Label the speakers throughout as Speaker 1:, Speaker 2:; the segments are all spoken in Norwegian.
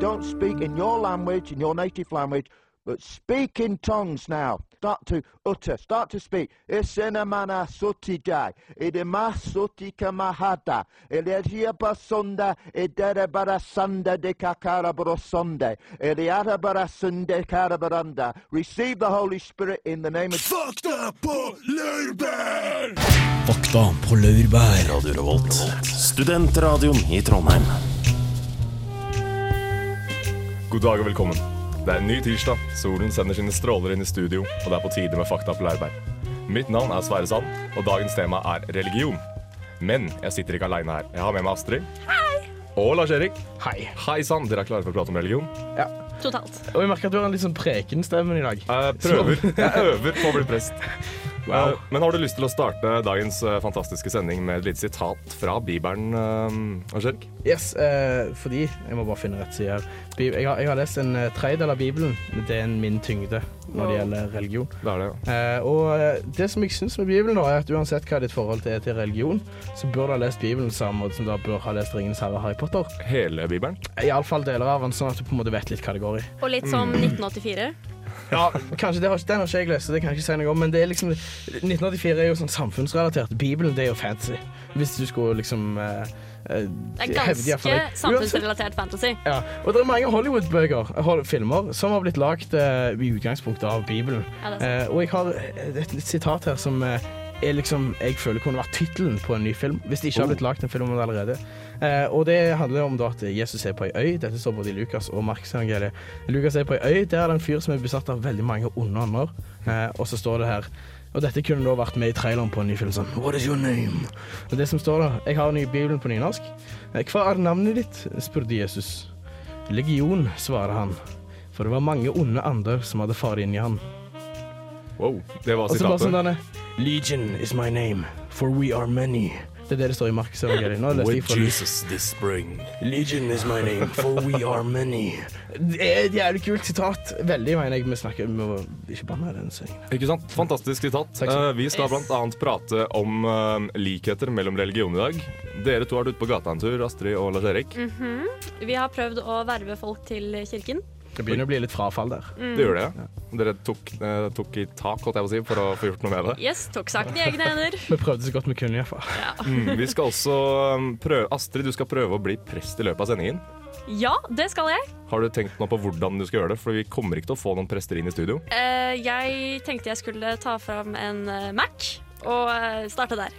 Speaker 1: don't speak in your language, in your native language, but speak in tongues now. Start to utter, start to speak. Isinamana sutijai, idima sutika mahada, ilejia sunda, iderabara sunda de kakarabara sunda, iliarabara sunde karabaranda. Receive the Holy Spirit in the name of
Speaker 2: Fakta på laurbær!
Speaker 3: Fakta på laurbær.
Speaker 2: Radio Revolt. Studentradioen i Trondheim.
Speaker 4: God dag og velkommen. Det er en ny tirsdag. Solen sender sine stråler inn i studio, og det er på tide med Fakta på Laurbær. Mitt navn er Sverre Sand, og dagens tema er religion. Men jeg sitter ikke aleine her. Jeg har med meg Astrid. Hei! Og Lars-Erik.
Speaker 5: Hei.
Speaker 4: Hei sann, dere er klare for å prate om religion?
Speaker 5: Ja.
Speaker 6: Totalt.
Speaker 5: Og jeg merker at du har en litt sånn prekenstemme i dag.
Speaker 4: Jeg prøver. Jeg øver på å bli prest. Eh, Men har du lyst til å starte dagens eh, fantastiske sending med et lite sitat fra Bibelen, eh, Lars-Erik?
Speaker 5: Yes, eh, fordi Jeg må bare finne rett side her. Bi- Jeg har, jeg har lest en eh, tredjedel av Bibelen. Det er en min tyngde når det
Speaker 6: Wow.
Speaker 5: gjelder religion.
Speaker 4: Det er det, ja.
Speaker 5: Eh, og eh, det som jeg syns med Bibelen, da, er at uansett hva ditt forhold til er til religion, så bør du ha lest Bibelen på samme måte som du bør ha lest Ringenes herre og Harry Potter.
Speaker 4: Hele Bibelen?
Speaker 5: Iallfall deler av den, sånn at du på en måte vet litt hva det går i.
Speaker 6: Og litt som
Speaker 4: Mm.
Speaker 6: 1984.
Speaker 5: Ja, kanskje det har, Den har ikke jeg lest, så det kan jeg ikke si noe om. Men det er liksom, 1984 er jo sånn samfunnsrelatert. Bibelen det er jo fantasy. Hvis du skulle liksom eh, eh,
Speaker 6: Det er
Speaker 5: hevde i hvert fall-
Speaker 6: ganske samfunnsrelatert fantasy.
Speaker 5: Ja, og det er mange Hollywood-bøker, hol- filmer, som har blitt lagd eh, i utgangspunktet av Bibelen.
Speaker 6: Ja, det er sant.
Speaker 5: Eh, og jeg har et, et sitat her som eh, er liksom, jeg føler kunne vært tittelen på en ny film, hvis det ikke har blitt lagd en film om det allerede. Eh, og det handler om da at Jesus er på ei øy. Dette står både i Lukas og Marksevangeliet. Lukas er på ei øy. Der er det en fyr som er besatt av veldig mange onde ånder. Eh, og så står det her og dette kunne da vært med i traileren på en ny film. Sånn, What is your name? Og det som står da, Jeg har en ny Bibelen på nynorsk. Eh, Hva er navnet ditt? spurte Jesus. Legion, svarer han. For det var mange onde ander som hadde faret inn i han.
Speaker 4: Wow. Det var
Speaker 5: Og så bare sånn
Speaker 4: sitatet.
Speaker 5: denne Legion is my name, for we are many. Det er det det står i Markus evangeliet. Nå leste jeg
Speaker 2: With
Speaker 5: fra Lukas.
Speaker 2: Jesus this spring.
Speaker 5: Legion is my name, for we are many. Det er et jævlig kult sitat. Veldig, mener jeg. Vi snakker Vi må ikke banne i den sendingen.
Speaker 4: Ikke sant? Fantastisk sitat.
Speaker 5: Takk skal du ha.
Speaker 4: Eh, vi skal blant annet prate om eh, likheter mellom religion i dag. Dere to har vært ute på gata en tur, Astrid og Lars Erik.
Speaker 6: Vi har prøvd å verve folk til kirken.
Speaker 5: Det begynner å bli litt frafall der.
Speaker 6: Mm. Mhm.
Speaker 4: Det gjør det. Dere tok, eh, tok i tak, holdt jeg på å si, for å få gjort noe med det.
Speaker 6: Yes, tok saken i egne hender.
Speaker 5: Vi prøvde så godt vi kunne, iallfall.
Speaker 4: Mm, vi skal også eh, prøve Astrid, du skal prøve å bli prest i løpet av sendingen.
Speaker 6: Ja, det skal jeg.
Speaker 4: Har du tenkt nå på hvordan du skal gjøre det? For vi kommer ikke til å få noen prester inn i studio.
Speaker 6: Eh, Jeg tenkte jeg skulle ta fram en eh, Mac og eh, starte der.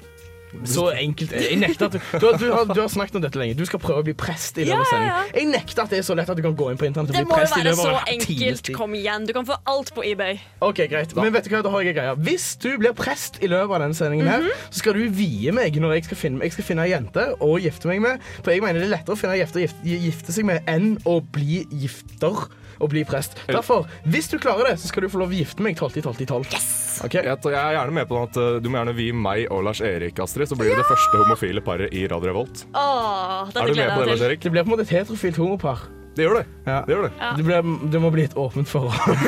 Speaker 5: Så enkelt. Jeg nekter at du, du, har- du, har, du har snakket om dette lenge. Du skal prøve å bli prest i løpet av
Speaker 6: Ja, ja,
Speaker 5: sendingen.
Speaker 6: ja.
Speaker 5: Jeg nekter at det er så lett at du kan gå inn på internett og
Speaker 6: Det
Speaker 5: bli
Speaker 6: må jo
Speaker 5: prest i
Speaker 6: være
Speaker 5: løpet
Speaker 6: så
Speaker 5: av en times
Speaker 6: enkelt.
Speaker 5: tid.
Speaker 6: Kom igjen, du kan få alt på eBay.
Speaker 5: Ok, greit. Men vet du hva, da har jeg en greie. Hvis du blir prest i løpet av denne sendingen, her, så skal du vie meg når jeg skal finne, jeg skal finne ei jente og gifte meg med. For jeg mener det er lettere å finne ei jente å gifte, gifte seg med enn å bli gifter og bli prest. Derfor, hvis du klarer det, så skal du få lov å gifte meg 12.12.12. 12. Yes!
Speaker 4: Jeg, jeg er gjerne med på at eh, Du må gjerne vie meg og Lars Erik, Astrid, så blir vi det første homofile paret i Radio Revolt.
Speaker 6: Åh, dette
Speaker 4: Er du med på
Speaker 6: gleder
Speaker 4: det,
Speaker 6: jeg
Speaker 4: Lars
Speaker 6: meg til.
Speaker 4: Erik?
Speaker 5: Det blir på en måte et heterofilt homopar.
Speaker 4: Det gjør det.
Speaker 5: Ja.
Speaker 4: Det gjør det.
Speaker 6: Ja.
Speaker 5: Det, blir, det må bli et åpent forhold.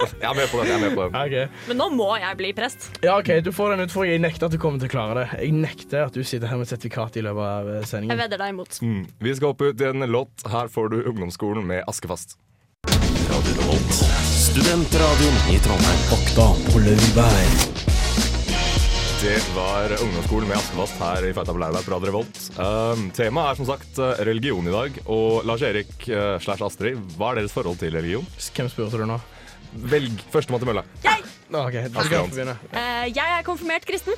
Speaker 4: Jeg er med på det. Jeg er med på det.
Speaker 5: Ok.
Speaker 6: Men nå må jeg bli prest.
Speaker 5: Ja, ok, Du får den ut, for jeg nekter at du kommer til å klare det. Jeg nekter at du sitter her med et sertifikat i løpet av eh,
Speaker 6: Jeg
Speaker 5: sendingen.
Speaker 6: vedder deg imot.
Speaker 4: Mm. Vi skal hoppe ut i en låt. Her får du Ungdomsskolen med Askefast.
Speaker 2: Radio Revolt. Studentradioen i Trondheim.
Speaker 3: Fakta på laurbær.
Speaker 4: Det var Ungdomsskolen med Askefast her i Feita på Leirberg på Radio Revolt. Um, temaet er som sagt eh, religion i dag. Og Lars Erik eh, slash Astrid, hva er deres forhold til religion?
Speaker 5: Hvem spurte du nå?
Speaker 4: Velg førstemann til mølla.
Speaker 5: Nå, Ok, du skal få begynne.
Speaker 6: Eh, Jeg er konfirmert kristen.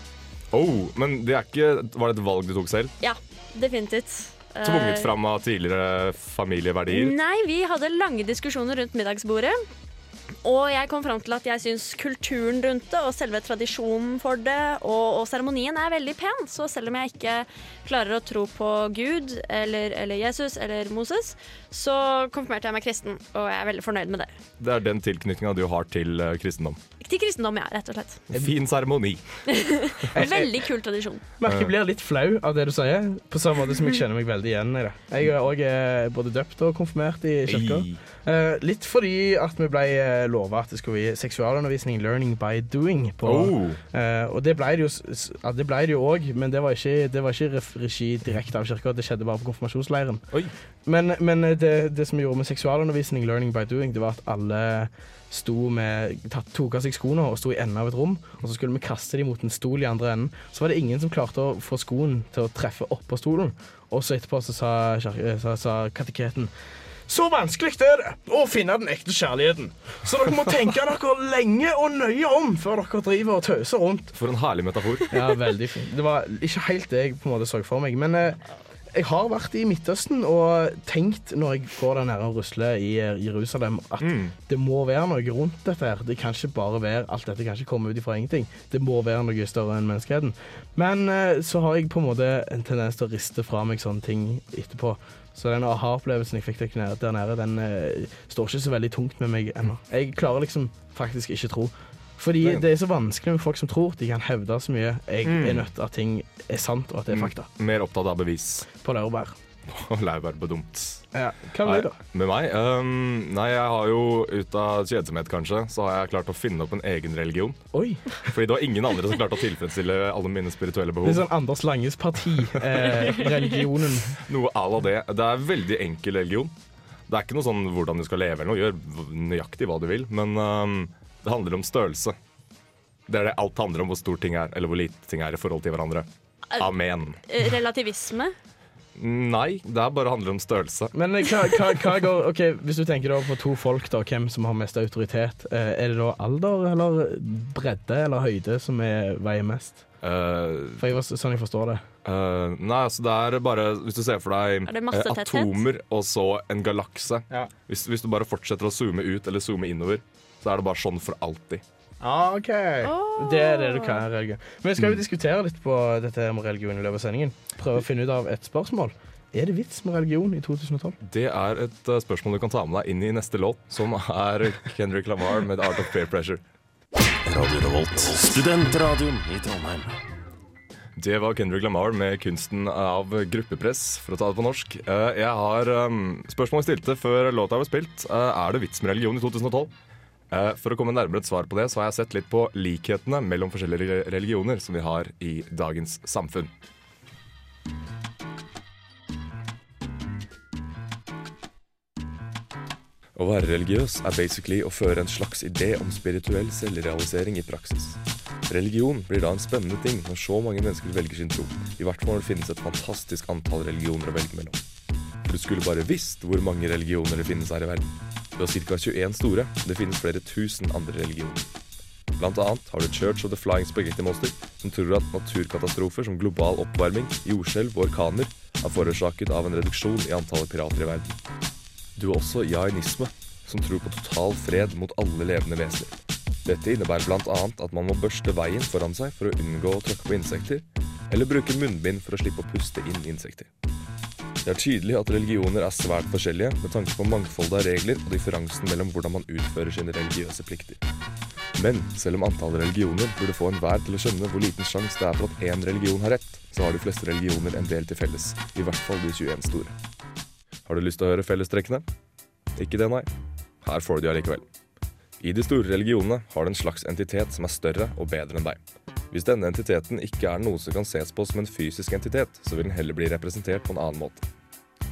Speaker 4: Oh, men det er ikke Var det et valg du tok selv?
Speaker 6: Ja, definitivt. Eh,
Speaker 4: Tvunget fram av tidligere familieverdier?
Speaker 6: Nei, vi hadde lange diskusjoner rundt middagsbordet. Og jeg kom fram til at jeg syns kulturen rundt det, og selve tradisjonen for det, og, og seremonien er veldig pen. Så selv om jeg ikke klarer å tro på Gud eller, eller Jesus eller Moses, så konfirmerte jeg meg kristen, og jeg er veldig fornøyd med det.
Speaker 4: Det er den tilknytninga du har til eh, kristendom.
Speaker 6: Til kristendom, ja, rett og slett.
Speaker 4: Fin seremoni.
Speaker 6: Veldig kul tradisjon.
Speaker 5: Merker jeg blir litt flau av det du sier, på samme måte som jeg kjenner meg veldig igjen i det. eh, Jeg er òg både døpt og konfirmert i kirka.
Speaker 4: I-
Speaker 5: Eh, Litt fordi at vi ble eh, lova at det skulle bli seksualundervisning, 'learning by doing', på
Speaker 4: Oh.
Speaker 5: Eh, og det ble det jo s- s- ja, det ble det jo òg, men det var ikke, det var ikke ref- regi direkte av kirka. Det skjedde bare på konfirmasjonsleiren.
Speaker 4: Oi.
Speaker 5: Men, men eh, det, det som vi gjorde med seksualundervisning, learning by doing, det var at alle sto med, tatt, tok av seg skoene og sto i enden av et rom, og så skulle vi kaste dem mot en stol i andre enden. Så var det ingen som klarte å få skoen til å treffe oppå stolen. Og så etterpå så sa, kjer- eh, sa, sa kateketen så vanskelig er det å finne den ekte kjærligheten. Så dere må tenke dere lenge og nøye om før dere driver og tøser rundt.
Speaker 4: For en herlig metafor.
Speaker 5: Ja, veldig fint. Det var ikke helt det jeg på en måte så for meg, men eh, jeg har vært i Midtøsten og tenkt når jeg går der nede og rusler i eh, Jerusalem, at det må være noe rundt dette her. Det kan ikke bare være alt dette kan ikke komme ut ifra ingenting. Det må være noe større enn menneskeheten. Men eh, så har jeg på en måte en tendens til å riste fra meg sånne ting etterpå. Så den aha-opplevelsen jeg fikk der nede, der nede den eh, står ikke så veldig tungt med meg ennå. Jeg klarer liksom faktisk ikke tro. Fordi
Speaker 4: Nei.
Speaker 5: det er så vanskelig med folk som tror. De kan hevde så mye. Jeg er nødt til at ting er sant, og at det er fakta.
Speaker 4: Mer opptatt av bevis.
Speaker 5: På laurbær.
Speaker 4: Laurbær på dumt.
Speaker 5: Ja. Hva med deg, da?
Speaker 4: Nei, Med meg? Øhm, nei, jeg har jo ut av kjedsomhet, kanskje, så har jeg klart å finne opp en egen religion.
Speaker 5: Oi.
Speaker 4: Fordi det var ingen andre som klarte å tilfredsstille alle mine spirituelle
Speaker 5: Det er
Speaker 4: behov.
Speaker 5: sånn Anders Langes parti, eh, religionen.
Speaker 4: Noe à la det. Det er veldig enkel religion. Det er ikke noe sånn hvordan du skal leve eller noe. Gjør v- nøyaktig hva du vil, men øhm, det handler om størrelse. Det er det alt handler om, hvor stort ting er, eller hvor lite ting er i forhold til hverandre. Amen.
Speaker 6: Eh, Relativisme.
Speaker 4: Nei, det er bare handler om størrelse.
Speaker 5: Men eh, hva, hva, hva går Ok, Hvis du tenker da på to folk, da, hvem som har mest autoritet, eh, er det da alder eller bredde eller høyde som er, veier mest?
Speaker 4: Øh,
Speaker 5: For jeg, var s- sånn jeg forstår det.
Speaker 4: Eh, nei, altså det er bare Hvis du ser for deg
Speaker 6: Er det
Speaker 4: eh,
Speaker 6: massetetthet?
Speaker 4: atomer og så en galakse
Speaker 5: Ja.
Speaker 4: hvis, hvis du bare fortsetter å zoome ut eller zoome innover, så er det bare sånn for alltid.
Speaker 5: Ah, OK. Det er det du kan religion. Men skal vi diskutere litt på dette her med religion i løpet av sendingen? Prøve å finne ut av et spørsmål. Er det vits med religion i 2012?
Speaker 4: Det er et eh, spørsmål du kan ta med deg inn i neste låt, som er Kendrick Lamar med 'Art of Peer Pressure'.
Speaker 2: Radio Revolt. Studentradioen i Trondheim.
Speaker 4: Det var Kendrick Lamar med 'Kunsten av gruppepress', for å ta det på norsk. Eh, jeg har um, spørsmål jeg stilte før låta ble spilt. Eh, er det vits med religion i 2012? Eh, for å komme nærmere et svar på det, så har jeg sett litt på likhetene mellom forskjellige religioner som vi har i dagens samfunn. Å være religiøs er basically å føre en slags idé om spirituell selvrealisering i praksis. Religion blir da en spennende ting når så mange mennesker velger sin tro, i hvert fall når det finnes et fantastisk antall religioner å velge mellom. For du skulle bare visst hvor mange religioner det finnes her i verden. Du har ca. 21 store, og det finnes flere tusen andre religioner. Blant annet har du Church of the Flying Spaghetti Monster, som tror at naturkatastrofer som global oppvarming, jordskjelv og orkaner er forårsaket av en reduksjon i antallet pirater i verden. Du har også jainisme, som tror på total fred mot alle levende vesener. Dette innebærer bl.a. at man må børste veien foran seg for å unngå å tråkke på insekter, eller bruke munnbind for å slippe å puste inn insekter. Det er tydelig at religioner er svært forskjellige med tanke på mangfoldet av regler og differansen mellom hvordan man utfører sine religiøse plikter. Men selv om antallet religioner burde få enhver til å skjønne hvor liten sjanse det er for at én religion har rett, så har de fleste religioner en del til felles, i hvert fall de 21 store. Har du lyst til å høre fellestrekkene? Ikke det, nei. Her får du de allikevel. I de store religionene har du en slags entitet som er større og bedre enn deg. Hvis denne entiteten ikke er noe som kan ses på som en fysisk entitet, så vil den heller bli representert på en annen måte.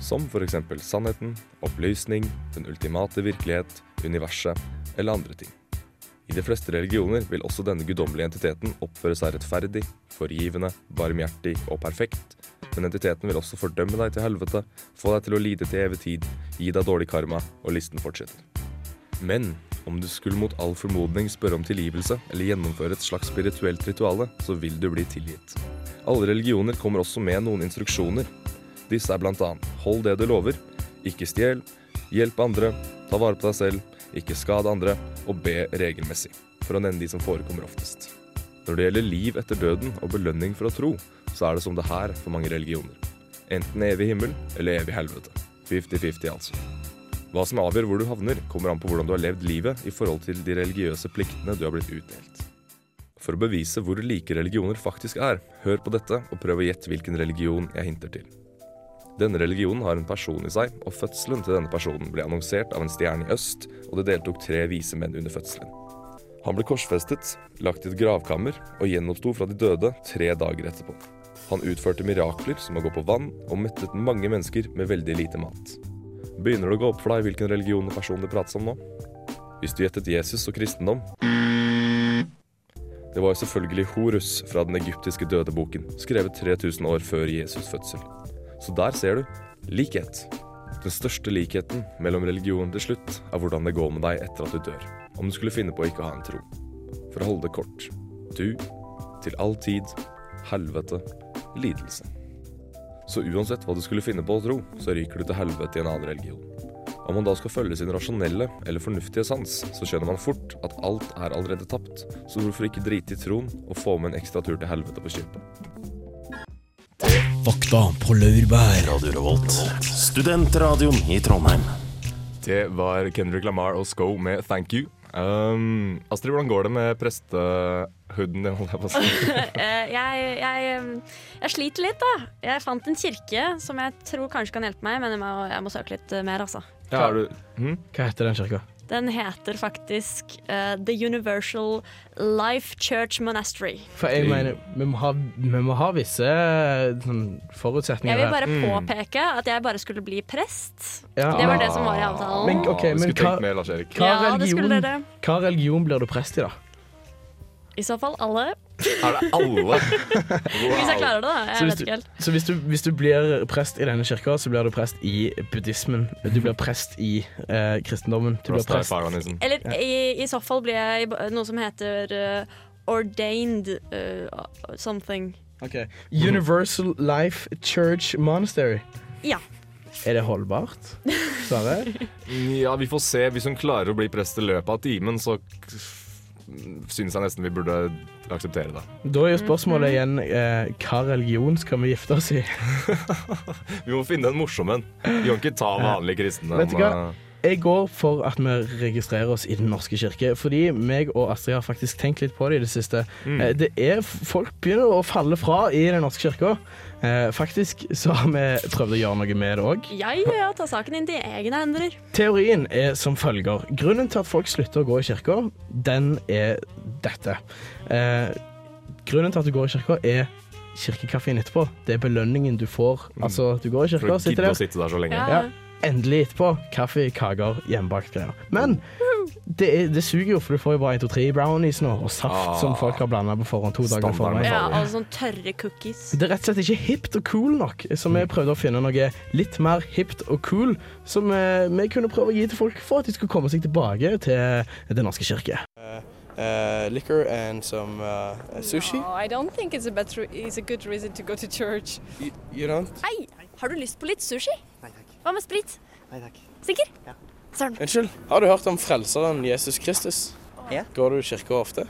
Speaker 4: Som f.eks. sannheten, opplysning, den ultimate virkelighet, universet eller andre ting. I de fleste religioner vil også denne guddommelige entiteten oppføre seg rettferdig, forgivende, barmhjertig og perfekt, men entiteten vil også fordømme deg til helvete, få deg til å lide til evig tid, gi deg dårlig karma, og listen fortsetter. Men om du skulle mot all formodning spørre om tilgivelse eller gjennomføre et slags spirituelt rituale, så vil du bli tilgitt. Alle religioner kommer også med noen instruksjoner. Disse er blant annet hold det du lover, ikke stjel, hjelp andre, ta vare på deg selv, ikke skad andre, og be regelmessig, for å nevne de som forekommer oftest. Når det gjelder liv etter døden og belønning for å tro, så er det som det her for mange religioner. Enten evig himmel eller evig helvete. 50-50 altså. Hva som avgjør hvor du havner, kommer an på hvordan du har levd livet i forhold til de religiøse pliktene du har blitt utdelt. For å bevise hvor like religioner faktisk er, hør på dette og prøv å gjette hvilken religion jeg hinter til. Denne religionen har en person i seg, og fødselen til denne personen ble annonsert av en stjerne i øst, og det deltok tre vise menn under fødselen. Han ble korsfestet, lagt i et gravkammer og gjenoppsto fra de døde tre dager etterpå. Han utførte mirakler som å gå på vann, og mettet mange mennesker med veldig lite mat. Begynner det å gå opp for deg hvilken religion og person det prates om nå? Hvis du gjettet Jesus og kristendom Det var jo selvfølgelig Horus fra den egyptiske dødeboken, skrevet 3000 år før Jesus' fødsel. Så der ser du likhet. Den største likheten mellom religionen til slutt er hvordan det går med deg etter at du dør, om du skulle finne på å ikke ha en tro. For å holde det kort du, til all tid, helvete, lidelse. Så uansett hva du skulle finne på å tro, så ryker du til helvete i en annen religion. Om man da skal følge sin rasjonelle eller fornuftige sans, så skjønner man fort at alt er allerede tapt, så hvorfor ikke drite i troen og få med en ekstra tur til helvete på kjøpet?
Speaker 3: Fakta på laurbær.
Speaker 2: Radio Revolt. Studentradioen i Trondheim.
Speaker 4: Det var Kendrick Lamar og Sko med 'Thank You'. Um, Astrid, hvordan går det med prestehooden din? holdt jeg på å si?
Speaker 6: Eh, jeg, jeg, eh, jeg sliter litt, da. Jeg fant en kirke som jeg tror kanskje kan hjelpe meg, men jeg må, jeg må søke litt eh, mer, altså.
Speaker 4: Ja, har du, hm?
Speaker 5: Hva heter den kirka?
Speaker 6: Den heter faktisk eh, The Universal Life Church Monastery.
Speaker 5: For jeg mener, vi må ha, vi må ha visse eh, sånn,
Speaker 6: Jeg
Speaker 5: forutsetninger
Speaker 6: vil
Speaker 5: her.
Speaker 6: bare påpeke at jeg bare skulle bli prest.
Speaker 5: Ja.
Speaker 6: Det var det som var i avtalen.
Speaker 5: Men,
Speaker 4: Ah,
Speaker 5: ok, men
Speaker 4: skulle
Speaker 5: hva,
Speaker 4: tenkt mer, Lars Erik.
Speaker 5: hva,
Speaker 6: Ja, det skulle
Speaker 5: religion,
Speaker 6: dere.
Speaker 5: hva religion blir du prest i, da?
Speaker 6: I så fall alle.
Speaker 4: Er det alle?
Speaker 6: Hvis
Speaker 4: Wow.
Speaker 6: jeg klarer det,
Speaker 5: Så
Speaker 6: da.
Speaker 5: hvis
Speaker 6: Jeg vet
Speaker 5: du-
Speaker 6: ikke helt.
Speaker 5: Så hvis du, hvis du blir prest i denne kirka, så blir du prest i buddhismen. Du blir prest i eh, kristendommen. Du blir prest
Speaker 4: Rastafarianism.
Speaker 6: Eller i, i så fall blir jeg i b- noe som heter eh, ordained eh, something.
Speaker 5: Ok. Universal Life Church Monastery.
Speaker 6: Ja.
Speaker 5: Er det holdbart? Sverre?
Speaker 4: Ja, vi får se. Hvis hun klarer å bli prest i løpet av timen, så k- syns jeg nesten vi burde akseptere det.
Speaker 5: Da er jo spørsmålet igjen eh, hva religion skal vi gifte oss i?
Speaker 4: Vi må finne en morsom en. Vi kan ikke ta vanlige kristne.
Speaker 5: Vet du
Speaker 4: men,
Speaker 5: hva?
Speaker 4: eh,
Speaker 5: Jeg går for at vi registrerer oss i Den norske kirke, fordi meg og Astrid har faktisk tenkt litt på det i det siste. Eh, Det er, Folk begynner å falle fra i Den norske kirka. Eh, faktisk så har vi prøvd å gjøre noe med det òg.
Speaker 6: Jeg ja, tar saken inn til egne hender.
Speaker 5: Teorien er som følger. Grunnen til at folk slutter å gå i kirka, den er dette. Eh, grunnen til at du går i kirka, er kirkekaffen etterpå. Det er belønningen du får. Altså, du går i
Speaker 4: Mm. For
Speaker 5: kirka,
Speaker 4: å
Speaker 5: sitter
Speaker 4: gidde å
Speaker 5: der.
Speaker 4: sitte der så lenge.
Speaker 5: Ja, endelig etterpå. Kaffe, kaker, hjemmebakt greier. Men det, er, det suger jo, for du får jo bare 1, 2, 3 brownies nå, og saft som folk har blanda på forhånd to dager
Speaker 4: Ah, Standarden.
Speaker 5: forveien.
Speaker 6: Ja, og sånne tørre cookies.
Speaker 5: Det er rett og slett ikke hipt og cool nok, så vi prøvde å finne noe litt mer hipt og cool som eh, vi kunne prøve å gi til folk for at de skulle komme seg tilbake til eh, Den norske kirke.
Speaker 7: Eh, liquor and some uh, sushi.
Speaker 8: No, I don't think it's a better, it's a good reason to go to church.
Speaker 7: You, you don't?
Speaker 6: Hei, har du lyst på litt sushi?
Speaker 7: Nei takk.
Speaker 6: Hva med sprit?
Speaker 7: Nei takk.
Speaker 6: Sikker?
Speaker 7: Ja.
Speaker 6: Søren.
Speaker 7: Unnskyld, har du hørt om frelseren Jesus Kristus?
Speaker 9: Ja.
Speaker 7: Går du i kirka ofte?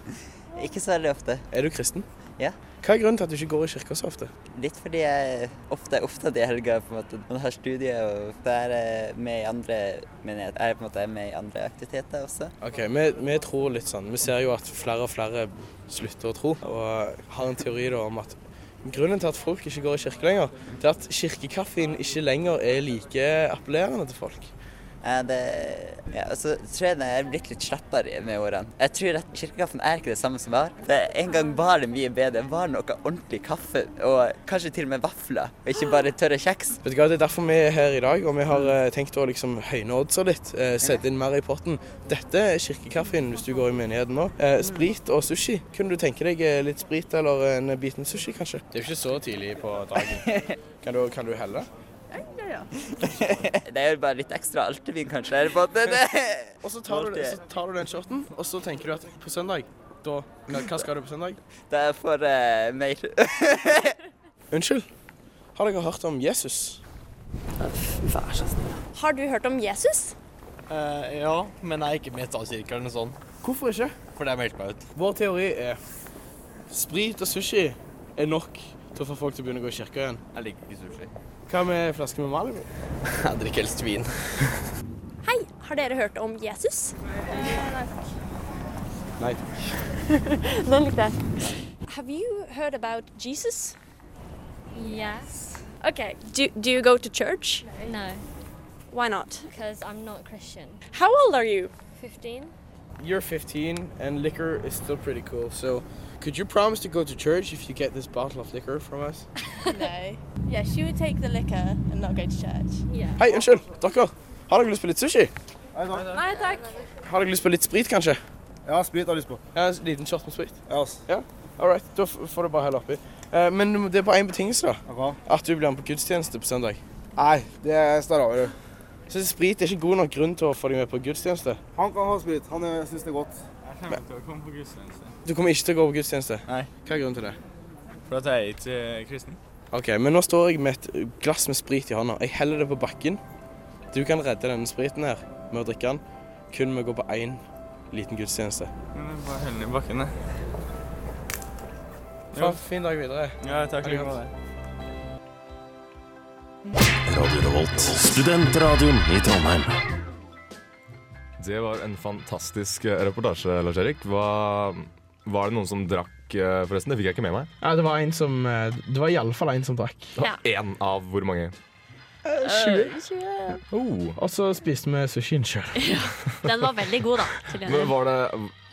Speaker 9: Ikke så veldig ofte.
Speaker 7: Er du kristen?
Speaker 9: Ja.
Speaker 7: Hva er grunnen til at du ikke går i kirka så ofte?
Speaker 9: Litt fordi jeg ofte er opptatt i helga. på en måte. Man har studie og så er jeg med i andre menigheter. Jeg er på en måte med i andre aktiviteter også.
Speaker 7: Ok, vi, vi tror litt sånn. Vi ser jo at flere og flere slutter å tro, og har en teori da om at grunnen til at folk ikke går i kirke lenger, det er at kirkekaffen ikke lenger er like appellerende til folk.
Speaker 9: Eh, Det, ja, og så tror jeg jeg er blitt litt slappere med årene. Jeg tror at kirkekaffen er ikke det samme som var. Det, en gang var det mye bedre. Var det noe ordentlig kaffe, og kanskje til og med vafler, og ikke bare tørre kjeks.
Speaker 7: Vet du hva, Det er derfor vi er her i dag, og vi har eh, tenkt å liksom høyne oddsa litt. Eh, sette inn mer i potten. Dette er kirkekaffen hvis du går i menigheten nå. Eh, sprit og sushi. Kunne du tenke deg eh, litt sprit eller en biten sushi, kanskje? Det er jo ikke så tidlig på dagen. Kan du, kan du helle?
Speaker 9: Det er jo bare litt ekstra altervin, kanskje. her på en måte. Det-
Speaker 7: Og så tar, du, så tar du den shoten, og så tenker du at på søndag da, hva hva skal du på søndag?
Speaker 9: Da får jeg eh, mer.
Speaker 7: Unnskyld, har dere hørt om Jesus?
Speaker 6: Har du hørt om Jesus?
Speaker 10: Eh, ja, men jeg er ikke metallkirke eller noe sånt.
Speaker 7: Hvorfor ikke?
Speaker 10: For det har meldt meg ut.
Speaker 7: Vår teori er sprit og sushi er nok til å få folk til å begynne å gå i kirka igjen.
Speaker 10: Jeg liker ikke sushi.
Speaker 7: Hva med flaske med Malibu?
Speaker 10: Jeg drikker helst vin.
Speaker 6: Hei, har dere hørt om Jesus?
Speaker 7: Nei.
Speaker 6: Den likte jeg. Have you heard about Jesus?
Speaker 8: Yes.
Speaker 6: Okay. Do, do you go to church?
Speaker 11: No,
Speaker 6: Why not?
Speaker 11: because I'm not Christian.
Speaker 6: How old are you?
Speaker 11: 15?
Speaker 7: You're 15 and liquor is still pretty cool, so could you promise to go to church if you get this bottle of liquor from us?
Speaker 12: no. Yeah, she would take the liquor and not go to church. Yeah.
Speaker 7: Hei, unnskyld, dere. Har dere lyst på litt sushi?
Speaker 12: Nei takk.
Speaker 7: Har dere lyst på litt sprit, kanskje?
Speaker 13: Ja, sprit har jeg lyst på.
Speaker 7: Ja, En liten shot med sprit? Ja. ja? All right, da f- får du bare helle oppi. Eh, Men du må- det er på én betingelse, da. At du blir med på gudstjeneste på søndag. Nei, det står over. Så sprit er ikke god nok grunn til å få deg med på gudstjeneste?
Speaker 13: Han kan ha sprit. Han syns det er godt. Jeg
Speaker 14: kommer til å komme på gudstjeneste.
Speaker 7: Du kommer ikke til å gå på gudstjeneste?
Speaker 14: Nei.
Speaker 7: Hva er grunnen til det?
Speaker 14: For at jeg er ikke kristen.
Speaker 7: OK, men nå står jeg med et glass med sprit i hånda. Jeg heller det på bakken. Du kan redde denne spriten her med å drikke den. Kun med å gå på én liten gudstjeneste.
Speaker 14: Men jeg bare heller den i bakken, jeg.
Speaker 7: Ha en fin dag videre.
Speaker 14: Ja, takk like måte.
Speaker 2: Radio Revolt. Studentradioen i Trondheim.
Speaker 4: Det var en fantastisk eh, reportasje, Lars Erik. Hva, var det noen som drakk, eh, forresten? Det fikk jeg ikke med meg.
Speaker 5: Ja, det var en som eh, Det var iallfall en som drakk.
Speaker 4: Én av hvor mange?
Speaker 6: 20.
Speaker 4: Oh.
Speaker 5: Og så spiste vi sushien sjøl.
Speaker 6: Den var veldig god, da. Til
Speaker 4: Men var det,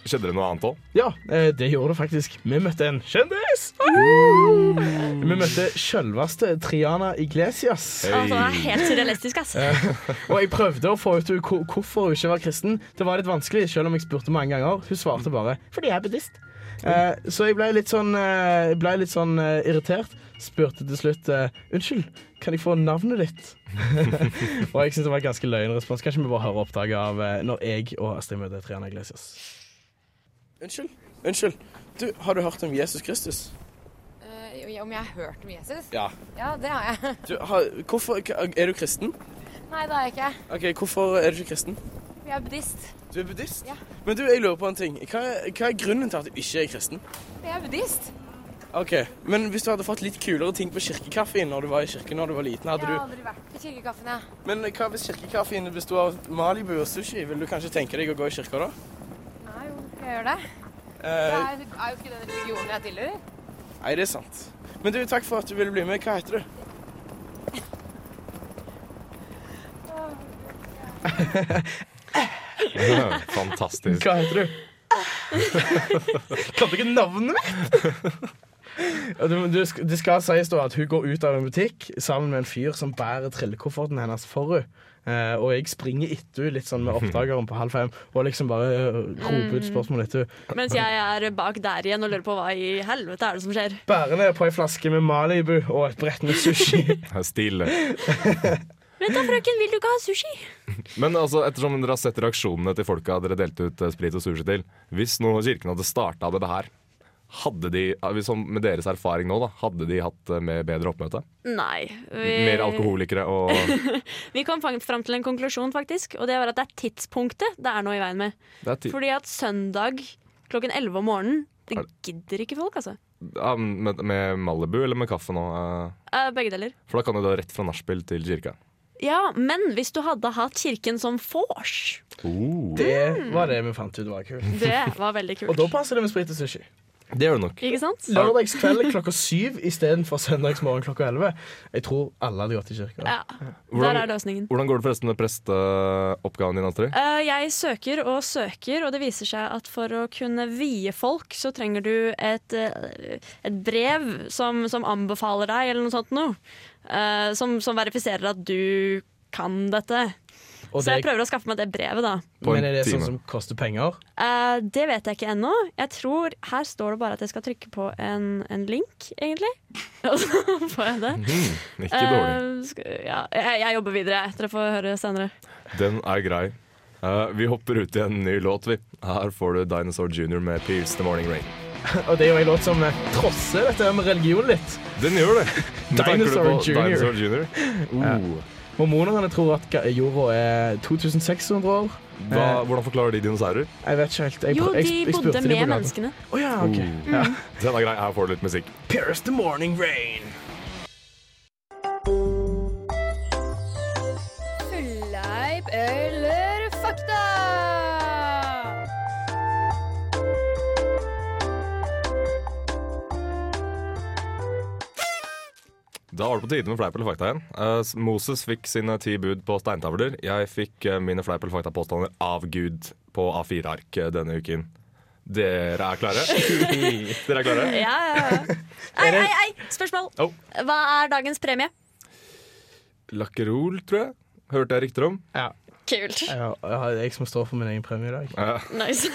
Speaker 4: skjedde det noe annet òg?
Speaker 5: Ja, eh, det gjorde det faktisk. Vi møtte en kjendis! Vi møtte sjølveste Triana Iglesias.
Speaker 6: Å, Altså, den er helt surrealistisk, ass.
Speaker 5: Eh, og jeg prøvde å få ut hvor- hvorfor hun ikke var kristen. Det var litt vanskelig, selv om jeg spurte mange ganger. Hun svarte bare 'fordi jeg er buddhist'. Eh, så jeg ble litt sånn, eh, jeg ble litt sånn eh, irritert. Spurte til slutt eh, 'unnskyld, kan jeg få navnet ditt'? og jeg syns det var en ganske løyen respons. Kanskje vi bare hører opptaket av eh, når jeg og Astrid møter Triana Iglesias.
Speaker 7: Unnskyld. Unnskyld. Du, har du hørt om Jesus Kristus?
Speaker 15: Eh, om jeg har hørt om Jesus?
Speaker 7: Ja.
Speaker 15: Ja, det har jeg.
Speaker 7: Du, har, hvorfor Er du kristen?
Speaker 15: Nei, det har jeg ikke.
Speaker 7: OK, hvorfor er du ikke kristen?
Speaker 15: Jeg er buddhist.
Speaker 7: Du er buddhist?
Speaker 15: Ja.
Speaker 7: Men du, jeg lurer på en ting. Hva er, hva er grunnen til at du ikke er kristen?
Speaker 15: Jeg er buddhist.
Speaker 7: Ok, Men hvis du hadde fått litt kulere ting på kirkekaffen når du var i kirken når du var liten, hadde
Speaker 15: jeg har
Speaker 7: du
Speaker 15: aldri vært på kirkekaffen, jeg.
Speaker 7: Men hva hvis kirkekaffen besto av Malibu og sushi? Vil du kanskje tenke deg å gå i kirka da?
Speaker 15: Nei, jo, jeg gjør det.
Speaker 7: Eh,
Speaker 15: Jeg er- er jo ikke den religionen jeg tilhører.
Speaker 7: nei, det er sant. Men du, takk for at du ville bli med. Hva heter du?
Speaker 4: Fantastisk.
Speaker 5: Hva heter du? kan du ikke navnet mitt? Ja, du- du sk- Det skal sies da at hun går ut av en butikk sammen med en fyr som bærer trillekofferten hennes for henne. Eh, og jeg springer etter henne litt sånn med oppdageren på halv fem og liksom bare eh, roper ut spørsmål etter henne.
Speaker 6: Mens jeg er bak der igjen og lurer på hva i helvete er det som skjer.
Speaker 5: Bærende på ei flaske med Malibu og et brett med sushi.
Speaker 4: Stille.
Speaker 6: Vent da, frøken, vil du ikke ha sushi?
Speaker 4: Men altså, ettersom dere har sett reaksjonene til folka dere delte ut eh, sprit og sushi til Hvis nå kirken hadde starta med det her, hadde de, eh, hvis sånn med deres erfaring nå, da, hadde de hatt eh, med bedre oppmøte?
Speaker 6: Nei. vi-
Speaker 4: Mer alkoholikere og
Speaker 6: Vi kom fang- fram til en konklusjon, faktisk. Og det var at det er tidspunktet det er noe i veien med.
Speaker 4: Det er ti-
Speaker 6: Fordi at søndag klokken 11 om morgenen Det gidder ikke folk, altså.
Speaker 4: ja, med, med Malibu eller med kaffe nå? eh?
Speaker 6: Eh, begge deler.
Speaker 4: For da kan du da rett fra nachspiel til kirka.
Speaker 6: Ja, men hvis du hadde hatt kirken som vors,
Speaker 5: Det var det vi fant ut var kult.
Speaker 6: det var veldig
Speaker 5: Og
Speaker 6: kult.
Speaker 5: da passer det med sprit og sushi.
Speaker 4: Det gjør det nok.
Speaker 6: Ikke sant?
Speaker 5: Lørdagskveld klokka syv istedenfor søndagsmorgen klokka elleve. Jeg tror alle hadde gått i kirka.
Speaker 6: Ja. Der er løsningen.
Speaker 4: Hvordan går det forresten med presteoppgaven din, Astrid?
Speaker 6: Eh, jeg søker og søker, og det viser seg at for å kunne vie folk, så trenger du et, eh, et brev som, som anbefaler deg, eller noe sånt noe. Eh, som, som verifiserer at du kan dette.
Speaker 5: Og
Speaker 6: så jeg
Speaker 5: det-
Speaker 6: prøver å skaffe meg det brevet, da.
Speaker 5: Men er det
Speaker 4: time.
Speaker 5: sånn som koster penger?
Speaker 6: Eh, det vet jeg ikke ennå. Jeg tror, Her står det bare at jeg skal trykke på en, en link, egentlig. Og så får jeg det.
Speaker 5: Mm.
Speaker 4: Hmm, ikke dårlig.
Speaker 6: Eh, skal, ja, jeg, jeg jobber videre, jeg. Dere får høre senere.
Speaker 4: Den er grei. Eh, vi hopper ut i en ny låt, vi. Her får du Dinosaur Junior med 'Pierce The Morning Rain'.
Speaker 5: Og det er jo en låt som eh, trosser dette med religion litt.
Speaker 4: Den gjør det. Nå tenker du
Speaker 5: Dinosaur
Speaker 4: på
Speaker 5: Junior.
Speaker 4: Dinosaur Junior. Oh.
Speaker 5: Mormonerne tror at ga- jorda er 2600 år.
Speaker 4: Hva,
Speaker 5: Eh,
Speaker 4: hvordan forklarer de dinosaurer?
Speaker 5: Jeg vet ikke helt. Jeg,
Speaker 6: Jo,
Speaker 5: prøv- jeg,
Speaker 6: de
Speaker 5: jeg spurte
Speaker 6: bodde
Speaker 5: de på
Speaker 6: med
Speaker 5: gaten.
Speaker 6: menneskene.
Speaker 5: Å ja, ok.
Speaker 4: Oh.
Speaker 5: Ja.
Speaker 4: Den er grei. Her får du litt musikk.
Speaker 5: Pierce the morning rain.
Speaker 16: Fulleip eller fakta?
Speaker 4: Da var det på tide med fleip eller fakta igjen. Eh, s- Moses fikk sine ti bud på steintavler. Jeg fikk eh, mine fleip eller fakta-påstander av Gud på A4-ark eh, denne uken. Dere er klare? Dere er klare?
Speaker 6: Ja, ja, ja. Ei, ei, ei, spørsmål.
Speaker 4: Oh.
Speaker 6: Hva er dagens premie?
Speaker 4: Lakkerol, tror jeg. Hørte jeg rykter om.
Speaker 5: Ja.
Speaker 6: Kult.
Speaker 5: Jeg, har- jeg har- jeg som står for min egen premie i dag.
Speaker 4: Eh,
Speaker 6: Nice.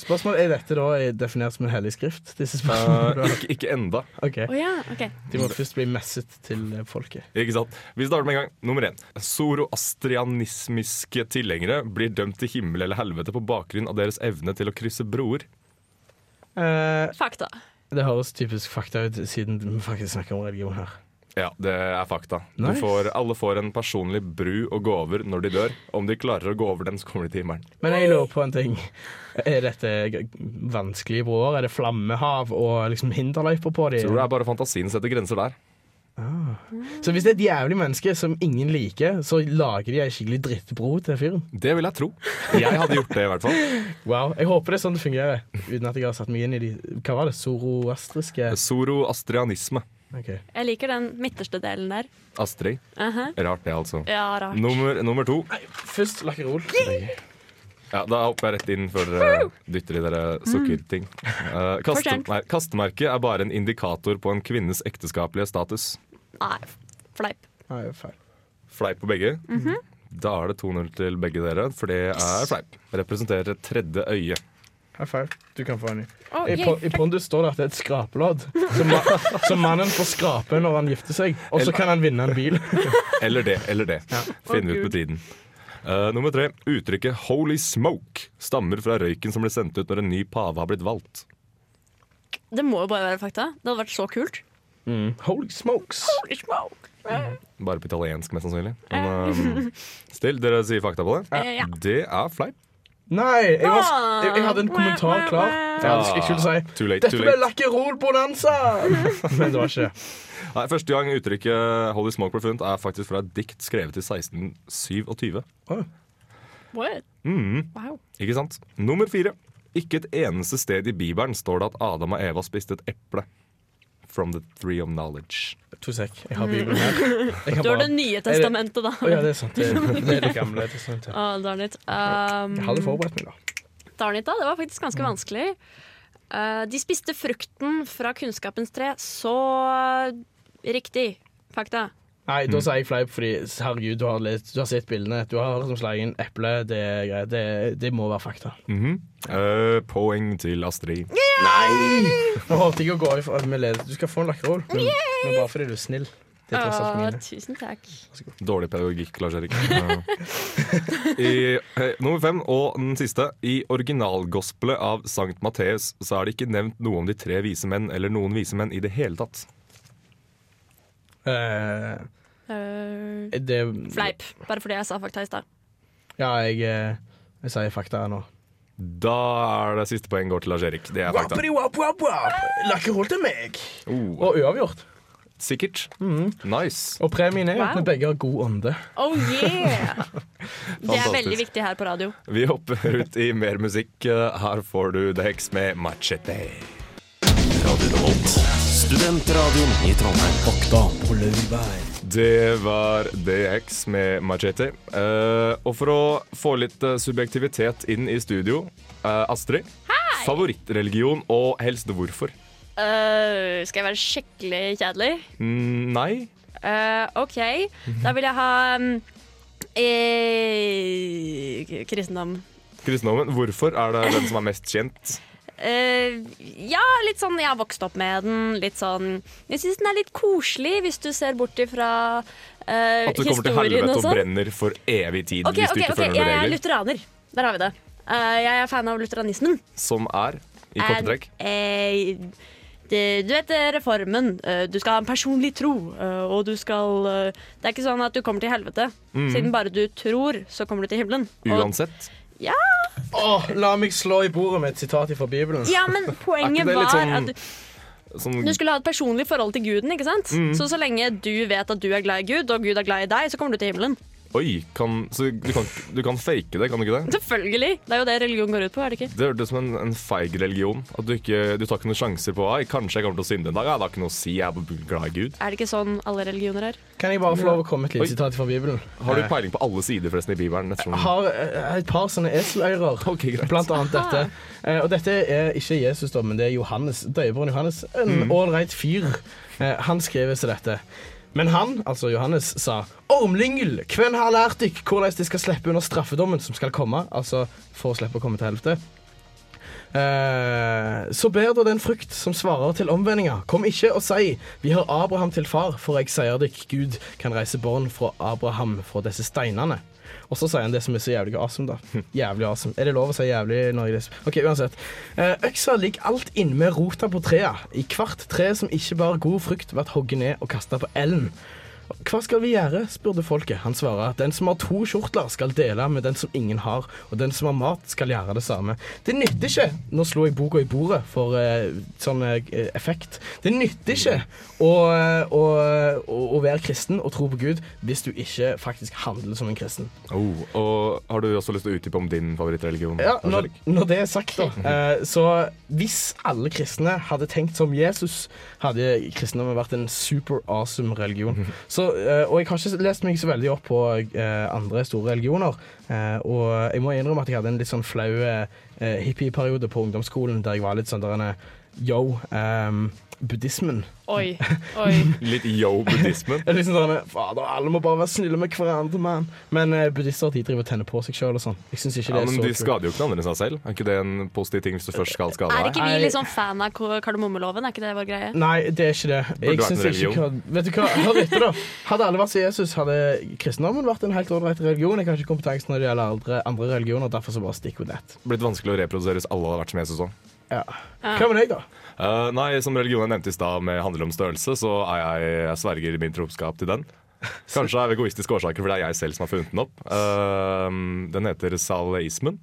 Speaker 5: Spørsmål Er dette da er definert som en hellig skrift? Disse
Speaker 4: Eh,
Speaker 5: spørsmålene?
Speaker 4: ikke, ikke enda.
Speaker 5: Ok.
Speaker 6: Å ja, ok.
Speaker 5: De må først bli messet til eh, folket.
Speaker 4: Ikke sant? Vi starter med en gang. Nummer én. Zoroastrianismiske tilhengere blir dømt til himmel eller helvete på bakgrunn av deres evne til å krysse broer.
Speaker 6: fakta.
Speaker 5: Eh, Det høres typisk fakta ut, siden vi faktisk snakker om religion her.
Speaker 4: Ja, det er fakta.
Speaker 5: Nice.
Speaker 4: Du får, alle får en personlig bru å gå over når de dør. Om de klarer å gå over den, så kommer de til himmelen.
Speaker 5: Men jeg lurer på en ting. Er dette g- vanskelige broer? Er det flammehav og liksom hinderløyper på dem?
Speaker 4: Tror det er bare fantasien setter grenser der.
Speaker 5: Ah. Så hvis det er et jævlig menneske som ingen liker, så lager de ei skikkelig drittbro til fyren?
Speaker 4: Det vil jeg tro. Jeg hadde gjort det, i hvert fall.
Speaker 5: Wow. Jeg håper det er sånn det fungerer, uten at jeg har satt meg inn i de Hva var det? Zoroastriske
Speaker 4: Zoroastrianisme.
Speaker 5: Ok.
Speaker 6: Jeg liker den midterste delen der.
Speaker 4: Astrid.
Speaker 6: Aha.
Speaker 4: Rart, det, altså.
Speaker 6: Ja, rart.
Speaker 4: Nummer, nummer to.
Speaker 5: Først lakkerol.
Speaker 4: Ja, Da hopper jeg rett inn før dere dytter i dere sukkerting. Eh, kaste,
Speaker 6: Mm. Fortjent.
Speaker 4: nei, kastemerke er bare en indikator på en kvinnes ekteskapelige status.
Speaker 6: Nei, fleip.
Speaker 5: Nei, feil.
Speaker 4: Fleip på begge.
Speaker 6: Mhm.
Speaker 4: Da er det 2-0 til begge dere, for det er fleip. Representerer et tredje øye.
Speaker 5: High five. Du kan få en ny.
Speaker 6: Å,
Speaker 5: I,
Speaker 6: yay,
Speaker 5: po I pondus står det at det er et skrapelodd, som, ma som mannen får skrape når han gifter seg. Og så kan han vinne en bil.
Speaker 4: Eller det, eller det. Finne
Speaker 5: Å,
Speaker 4: ut med tiden. Eh, nummer tre. Uttrykket 'holy smoke' stammer fra røyken som ble sendt ut når en ny pave har blitt valgt.
Speaker 6: Det må jo bare være fakta. Det hadde vært så kult.
Speaker 5: Holy smokes!
Speaker 6: Holy smoke.
Speaker 4: Bare på italiensk, mest sannsynlig. Men eh, still, dere sier fakta på det.
Speaker 6: Eh, ja.
Speaker 4: Det er fleip.
Speaker 5: Nei, jeg, var,
Speaker 6: Ah.
Speaker 5: jeg, jeg hadde en kommentar klar. Ja, det skulle jeg skulle si.
Speaker 4: Too late,
Speaker 5: Dette
Speaker 4: too
Speaker 5: ble
Speaker 4: late.
Speaker 5: lakkerol-bonanza! Men det var ikke det.
Speaker 4: Nei, Første gang uttrykket 'Holy Smoke' ble funnet, er faktisk fra et dikt skrevet i 1627.
Speaker 6: What?
Speaker 5: Mm.
Speaker 4: Mhm.
Speaker 6: Wow.
Speaker 4: Ikke sant? Nummer fire. Ikke et eneste sted i Bibelen står det at Adam og Eva spiste et eple. From the tree of knowledge.
Speaker 5: To sek. Jeg har Bibelen her. Jeg
Speaker 6: Du har Det nye testamentet, da.
Speaker 5: Å ja, det er sant. Det, det er det gamle testamentet.
Speaker 6: Å, darn it. Um,
Speaker 5: Jeg hadde forberedt meg, da.
Speaker 6: Darn it, da. Det var faktisk ganske vanskelig. Eh, de spiste frukten fra kunnskapens tre. Så riktig. Fakta.
Speaker 5: Nei, da
Speaker 4: Mm.
Speaker 5: sier jeg fleip, fordi herregud, du har, lest, du har sett bildene. Du har som slangen eple. Det er greit. Det, det må være fakta.
Speaker 4: Mhm. Eh, poeng til Astrid.
Speaker 5: Nå håpet jeg å gå ifra med leder. Du skal få en lakkerol. Men, men bare fordi du er snill. Det er tross alt
Speaker 6: Å,
Speaker 5: mine.
Speaker 6: tusen takk.
Speaker 4: Dårlig pedagogikk, Lars Erik. Ja. I, eh, nummer fem og den siste. I originalgospelet av Sankt Matteus så er det ikke nevnt noe om de tre vise menn eller noen vise menn i det hele tatt.
Speaker 5: Eh,
Speaker 6: Eh,
Speaker 5: det
Speaker 6: fleip. Bare fordi jeg sa fakta i stad.
Speaker 5: Ja, jeg, eh, jeg sier fakta her nå.
Speaker 4: Da er det siste poeng går til Lars Erik. Det er fakta.
Speaker 5: wap, wap, wap. Lakkerol til meg.
Speaker 4: Oh,
Speaker 5: Og uavgjort.
Speaker 4: sikkert.
Speaker 5: Mhm.
Speaker 4: Nice.
Speaker 5: Og premien er at
Speaker 6: Wow.
Speaker 5: vi begge har god ånde.
Speaker 6: Oh yeah! Det er
Speaker 4: Fantastisk.
Speaker 6: veldig viktig her på radio.
Speaker 4: Vi hopper ut i mer musikk. Her får du The Hex med Machete.
Speaker 2: Radio Revolt. Studentradioen i Trondheim. Fakta på laurbær.
Speaker 4: Det var The Hex med Machete. Eh, og for å få litt eh, subjektivitet inn i studio, eh, Astrid. Favorittreligion og helst hvorfor?
Speaker 6: Eh, skal jeg være skikkelig kjedelig?
Speaker 4: Mm, nei.
Speaker 6: Eh, OK. Da vil jeg ha mm, eh, kristendom.
Speaker 4: Kristendommen. Hvorfor er det den som er mest kjent?
Speaker 6: Eh, ja, litt sånn jeg har vokst opp med den. Litt sånn Jeg syns den er litt koselig, hvis du ser bort ifra eh,
Speaker 4: At du kommer til
Speaker 6: historien
Speaker 4: helvete
Speaker 6: og
Speaker 4: og
Speaker 6: sånn.
Speaker 4: brenner for evig tid
Speaker 6: OK,
Speaker 4: hvis du
Speaker 6: ok,
Speaker 4: ikke
Speaker 6: ok,
Speaker 4: følger
Speaker 6: jeg
Speaker 4: noen
Speaker 6: er
Speaker 4: regler.
Speaker 6: lutheraner. Der har vi det. Eh, jeg er fan av lutheranismen.
Speaker 4: Som er, i korte
Speaker 6: Er-
Speaker 4: trekk
Speaker 6: eh, det, du vet eh, reformen. Eh, du skal ha en personlig tro, eh, og du skal eh, Det er ikke sånn at du kommer til helvete.
Speaker 5: Mhm.
Speaker 6: Siden bare du tror, så kommer du til himmelen. Og,
Speaker 4: Mm. Uansett.
Speaker 6: ja,
Speaker 5: Åh, la meg slå i bordet med et sitat fra Bibelen.
Speaker 6: ja, men poenget
Speaker 5: det litt
Speaker 6: var
Speaker 5: sånn-
Speaker 6: at du, Du skulle ha et personlig forhold til guden, ikke sant?
Speaker 5: Mm.
Speaker 6: Så så lenge du vet at du er glad i Gud, og Gud er glad i deg, så kommer du til himmelen.
Speaker 4: Oi, kan, så du kan, du kan fake det, kan du ikke det?
Speaker 6: Selvfølgelig! Det er jo det religion går ut på, er det ikke?
Speaker 4: Det hørtes ut som en, en feig religion. At du ikke du tar ikke noen sjanser på Ai, kanskje jeg kommer til å synde en dag. Ja, det har ikke noe å si, jeg er bare glad i Gud.
Speaker 6: Er det ikke sånn alle religioner er?
Speaker 5: Kan jeg bare få lov å komme med et
Speaker 4: Oi.
Speaker 5: lite sitat fra Bibelen?
Speaker 4: Har du
Speaker 5: Eh,
Speaker 4: peiling på alle sider forresten i Bibelen? Ettersom,
Speaker 5: Jeg har eh, et par sånne eselører, blant annet dette. Eh, Og dette er ikke Jesus, da, men det er Johannes, døperen Johannes. En
Speaker 11: Mm.
Speaker 5: ålreit fyr. Eh, Han skriver seg dette. Men han, altså Johannes, sa Ormlyngel, hvem har lært dykk hvordan de skal slippe under straffedommen som skal komme? Altså for å slippe å komme til helvete. Eh, så ber da den frukt som svarer til omvendinga. Kom ikke og si, vi har Abraham til far, for jeg sier dykk, Gud kan reise barn fra Abraham fra disse steinene. Og så sier han det som er så jævlig awesome, da. Jævlig awesome. Er det lov å si jævlig når jeg leser? OK, uansett. Eh, øksa ligger alt inne med rota på trea. I hvert tre som ikke bar god frukt, blir hogget ned og kasta på elden. Hva skal vi gjøre, spurte folket. Han svarer at den som har to skjortler, skal dele med den som ingen har, og den som har mat, skal gjøre det samme. Det nytter ikke Nå slo jeg boka i bordet for eh, sånn eh, effekt. Det nytter ikke å, eh, å, å, å være kristen og tro på Gud hvis du ikke faktisk handler som en kristen.
Speaker 4: oh, og har du også lyst til å utdype om din favorittreligion?
Speaker 5: Ja, når,
Speaker 4: Angelique?
Speaker 5: når det er sagt, da. Eh, så hvis alle kristne hadde tenkt som Jesus, hadde kristendommen vært en super awesome religion.
Speaker 4: Mhm.
Speaker 5: Så, eh, og jeg har ikke lest meg så veldig opp på eh, andre store religioner. Eh, og jeg må innrømme at jeg hadde en litt sånn flau eh, hippieperiode på ungdomsskolen der jeg var litt sånn der en eh, yo, ehm, buddhismen.
Speaker 6: Oi. Oi.
Speaker 4: Litt yo-buddhismen.
Speaker 5: Det er liksom sånn, Fader, alle må bare være snille med hverandre, mann. Men eh, buddhister de driver og tenner på seg sjøl og sånn. Jeg synes ikke
Speaker 4: Ja,
Speaker 5: det er
Speaker 4: men
Speaker 5: så
Speaker 4: de
Speaker 5: kult.
Speaker 4: skader jo ikke noen andre enn seg selv. Er ikke det en positiv ting hvis du først skal skade
Speaker 6: Er
Speaker 4: deg?
Speaker 6: ikke vi liksom fan av ko- kardemommeloven? Er ikke det vår greie?
Speaker 5: Nei, det er ikke det.
Speaker 4: Burde vært en
Speaker 5: synes ikke
Speaker 4: religion.
Speaker 5: hva- vet du hva, Hør etter, da. Hadde alle vært som Jesus, hadde kristendommen vært en helt ålreit religion. Jeg har ikke kompetanse når det gjelder andre, andre religioner, derfor så bare stick with that.
Speaker 4: Blitt vanskelig å reprodusere hvis alle hadde vært som Jesus òg.
Speaker 5: Ja. Hva med deg, da?
Speaker 4: Eh, nei, som religionen jeg nevnte i stad, med handler om størrelse, så er jeg, jeg sverger min troskap til den. Kanskje av egoistiske årsaker, for det er jeg selv som har funnet den opp. Eh, den heter salaismen.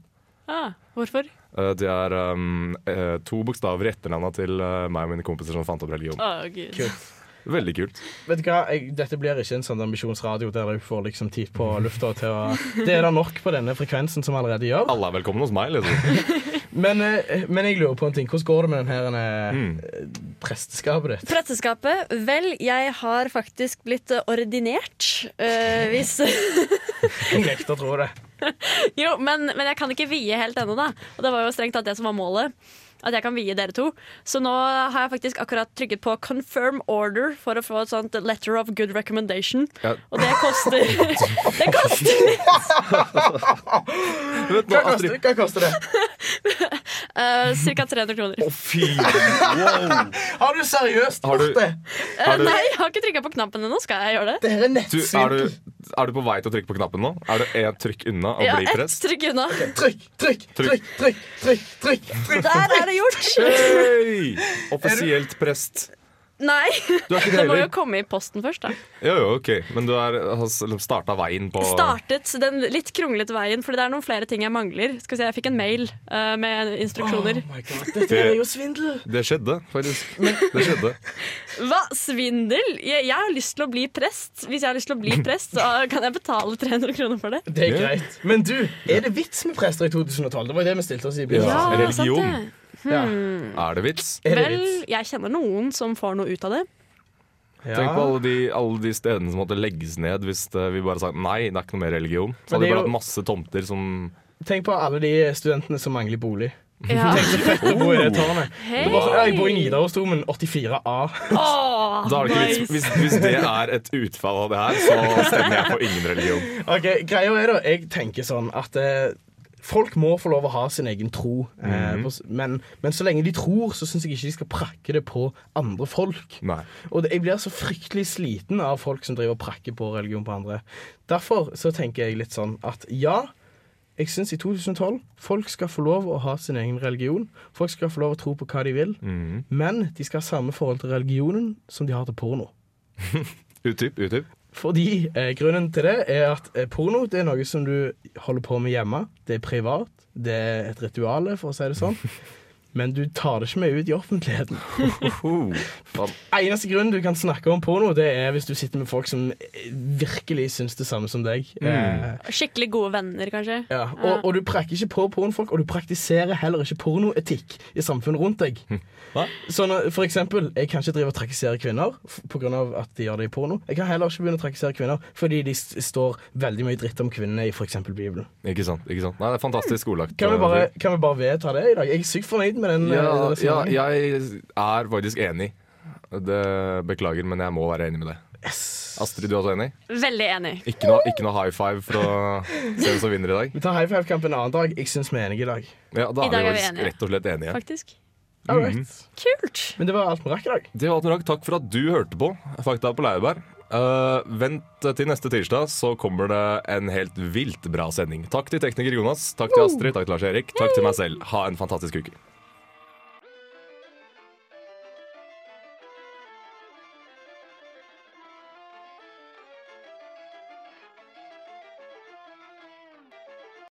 Speaker 6: Ah, hvorfor?
Speaker 4: Eh, det er ehm, eh, to bokstaver i etternavnet til eh, meg og mine kompiser som fant opp religion.
Speaker 6: Å, Gud.
Speaker 5: Kult.
Speaker 4: Veldig kult.
Speaker 5: Vet du hva, jeg, Dette blir ikke en sånn ambisjonsradio der du får liksom tid på lufta til å Det er det nok på denne frekvensen som allerede gjør.
Speaker 4: Alle er velkomne hos meg, liksom.
Speaker 5: Men, eh, men jeg lurer på en ting. Hvordan går det med den her eh,
Speaker 4: Mm.
Speaker 5: eh, presteskapet ditt?
Speaker 6: Presteskapet? Vel, jeg har faktisk blitt eh, ordinert. eh, hvis
Speaker 5: Jeg nekter å tro det.
Speaker 6: Jo, men, men jeg kan ikke vie helt ennå, da. Og det var jo strengt tatt det som var målet. At jeg kan vie dere to. Så nå har jeg faktisk akkurat trykket på confirm order for å få et sånt letter of good recommendation.
Speaker 4: Ja.
Speaker 6: Og det koster Det koster
Speaker 4: Vet du,
Speaker 5: Hva koster, hva koster det?
Speaker 6: uh, ca. 300 kroner.
Speaker 4: Fy, wow.
Speaker 5: Har du seriøst
Speaker 4: Har du-
Speaker 5: gjort det?
Speaker 4: har du-
Speaker 6: Eh, Nei, jeg har ikke trykka på knappen ennå. Skal jeg gjøre det?
Speaker 5: Det her er
Speaker 4: Du, er, du, er du på vei til å trykke på knappen nå? Er du ett trykk unna å
Speaker 6: Ja,
Speaker 4: bli
Speaker 6: ett
Speaker 4: prest?
Speaker 6: trykk unna.
Speaker 5: Trykk, trykk,
Speaker 4: Trykk.
Speaker 5: trykk, trykk, trykk,
Speaker 6: trykk. Der er det gjort!
Speaker 4: Hei! Offisielt prest.
Speaker 6: Nei.
Speaker 4: Du er ikke det
Speaker 6: Det må
Speaker 4: heller.
Speaker 6: jo komme i posten først, da.
Speaker 4: Jo, jo, ok. Men du er, har starta veien på
Speaker 6: startet den litt kronglete veien, Fordi det er noen flere ting jeg mangler. Skal vi si, Jeg fikk en mail eh, med instruksjoner.
Speaker 5: Oh Dette er jo svindel.
Speaker 4: Det skjedde, faktisk. Det skjedde.
Speaker 6: Hva? Svindel? Jeg, jeg har lyst til å bli prest. Hvis jeg har lyst til å bli prest, så kan jeg betale 300 kroner for det.
Speaker 5: Det er greit. Men du, er det vits med prester i 2012? Det var jo det vi stilte oss i
Speaker 4: Ja,
Speaker 5: begynnelsen.
Speaker 4: religion.
Speaker 6: sant det.
Speaker 5: Ja.
Speaker 6: Hmm.
Speaker 4: Er det vits?
Speaker 6: Vel, jeg kjenner noen som får noe ut av det.
Speaker 4: Tenk på alle de, alle de stedene som måtte legges ned hvis det, vi bare sa nei, det er ikke noe mer religion. Så hadde
Speaker 5: Men
Speaker 4: vi
Speaker 5: det er
Speaker 4: bare
Speaker 5: jo-
Speaker 4: hatt masse tomter som
Speaker 5: Tenk på alle de studentene som mangler bolig.
Speaker 6: Ja.
Speaker 5: Tenk så fett å bo i det tårnet.
Speaker 6: Hei!
Speaker 5: Det var, ja, jeg bor i Nidarosdomen 84A.
Speaker 6: Åh,
Speaker 4: da er det ikke vits.
Speaker 6: nice.
Speaker 4: Hvis, hvis det er et utfall av det her, så stemmer jeg på ingen religion.
Speaker 5: Ok, Greia er da, jeg tenker sånn at eh, folk må få lov å ha sin egen tro. eh,
Speaker 4: Mhm.
Speaker 5: på s- men, men så lenge de tror, så syns jeg ikke de skal prakke det på andre folk.
Speaker 4: Nei.
Speaker 5: Og det, jeg blir så fryktelig sliten av folk som driver og prakker på religion på andre. Derfor så tenker jeg litt sånn at ja. Jeg syns i 2012 folk skal få lov å ha sin egen religion. Folk skal få lov å tro på hva de vil.
Speaker 4: Mhm.
Speaker 5: Men de skal ha samme forhold til religionen som de har til porno.
Speaker 4: Utdyp, utdyp.
Speaker 5: Fordi eh, grunnen til det er at eh, porno det er noe som du holder på med hjemme. Det er privat. Det er et ritual, for å si det sånn. men du tar det ikke med ut i offentligheten. Eneste grunnen du kan snakke om porno, det er hvis du sitter med folk som eh, virkelig syns det samme som deg.
Speaker 6: Mm.
Speaker 5: Eh,
Speaker 6: Skikkelig gode venner, kanskje.
Speaker 5: ja. og, og du prekker ikke på pornofolk, og du praktiserer heller ikke pornoetikk i samfunnet rundt deg.
Speaker 4: Hm.
Speaker 5: Så når, for eksempel, jeg kan ikke drive og trakassere kvinner f- på grunn av at de gjør det i porno. Jeg kan heller ikke begynne å trakassere kvinner fordi de s står veldig mye dritt om kvinnene i for eksempel Bibelen.
Speaker 4: Ikke sant. ikke sant Nei, det er fantastisk ordlagt.
Speaker 5: Kan vi, bare, kan vi bare vedta det i dag? Jeg er sykt fornøyd med den. eh,
Speaker 4: ja,
Speaker 5: den
Speaker 4: ja,
Speaker 5: resonnementet.
Speaker 4: jeg er faktisk enig. Det Beklager, men jeg må være enig med deg. Astrid, du er også enig?
Speaker 6: Veldig enig.
Speaker 4: Ikke noe, ikke noe high five for å se hvem som vinner i dag?
Speaker 5: Vi tar high five-kamp en annen dag. Jeg syns vi er enige i dag.
Speaker 4: Ja, Da
Speaker 6: I dag
Speaker 4: er
Speaker 6: er
Speaker 4: vi
Speaker 6: vi
Speaker 4: faktisk
Speaker 6: enige.
Speaker 4: rett og slett enige.
Speaker 6: Faktisk.
Speaker 4: Mhm.
Speaker 5: All right.
Speaker 6: Kult.
Speaker 5: Men det var alt vi rakk i dag.
Speaker 4: Det var alt med dag. Takk for at du hørte på Fakta på Laurbær. Eh, vent til neste tirsdag, så kommer det en helt vilt bra sending. Takk til tekniker Jonas, takk til Astrid, takk til Lars Erik, takk til meg selv. Ha en fantastisk uke.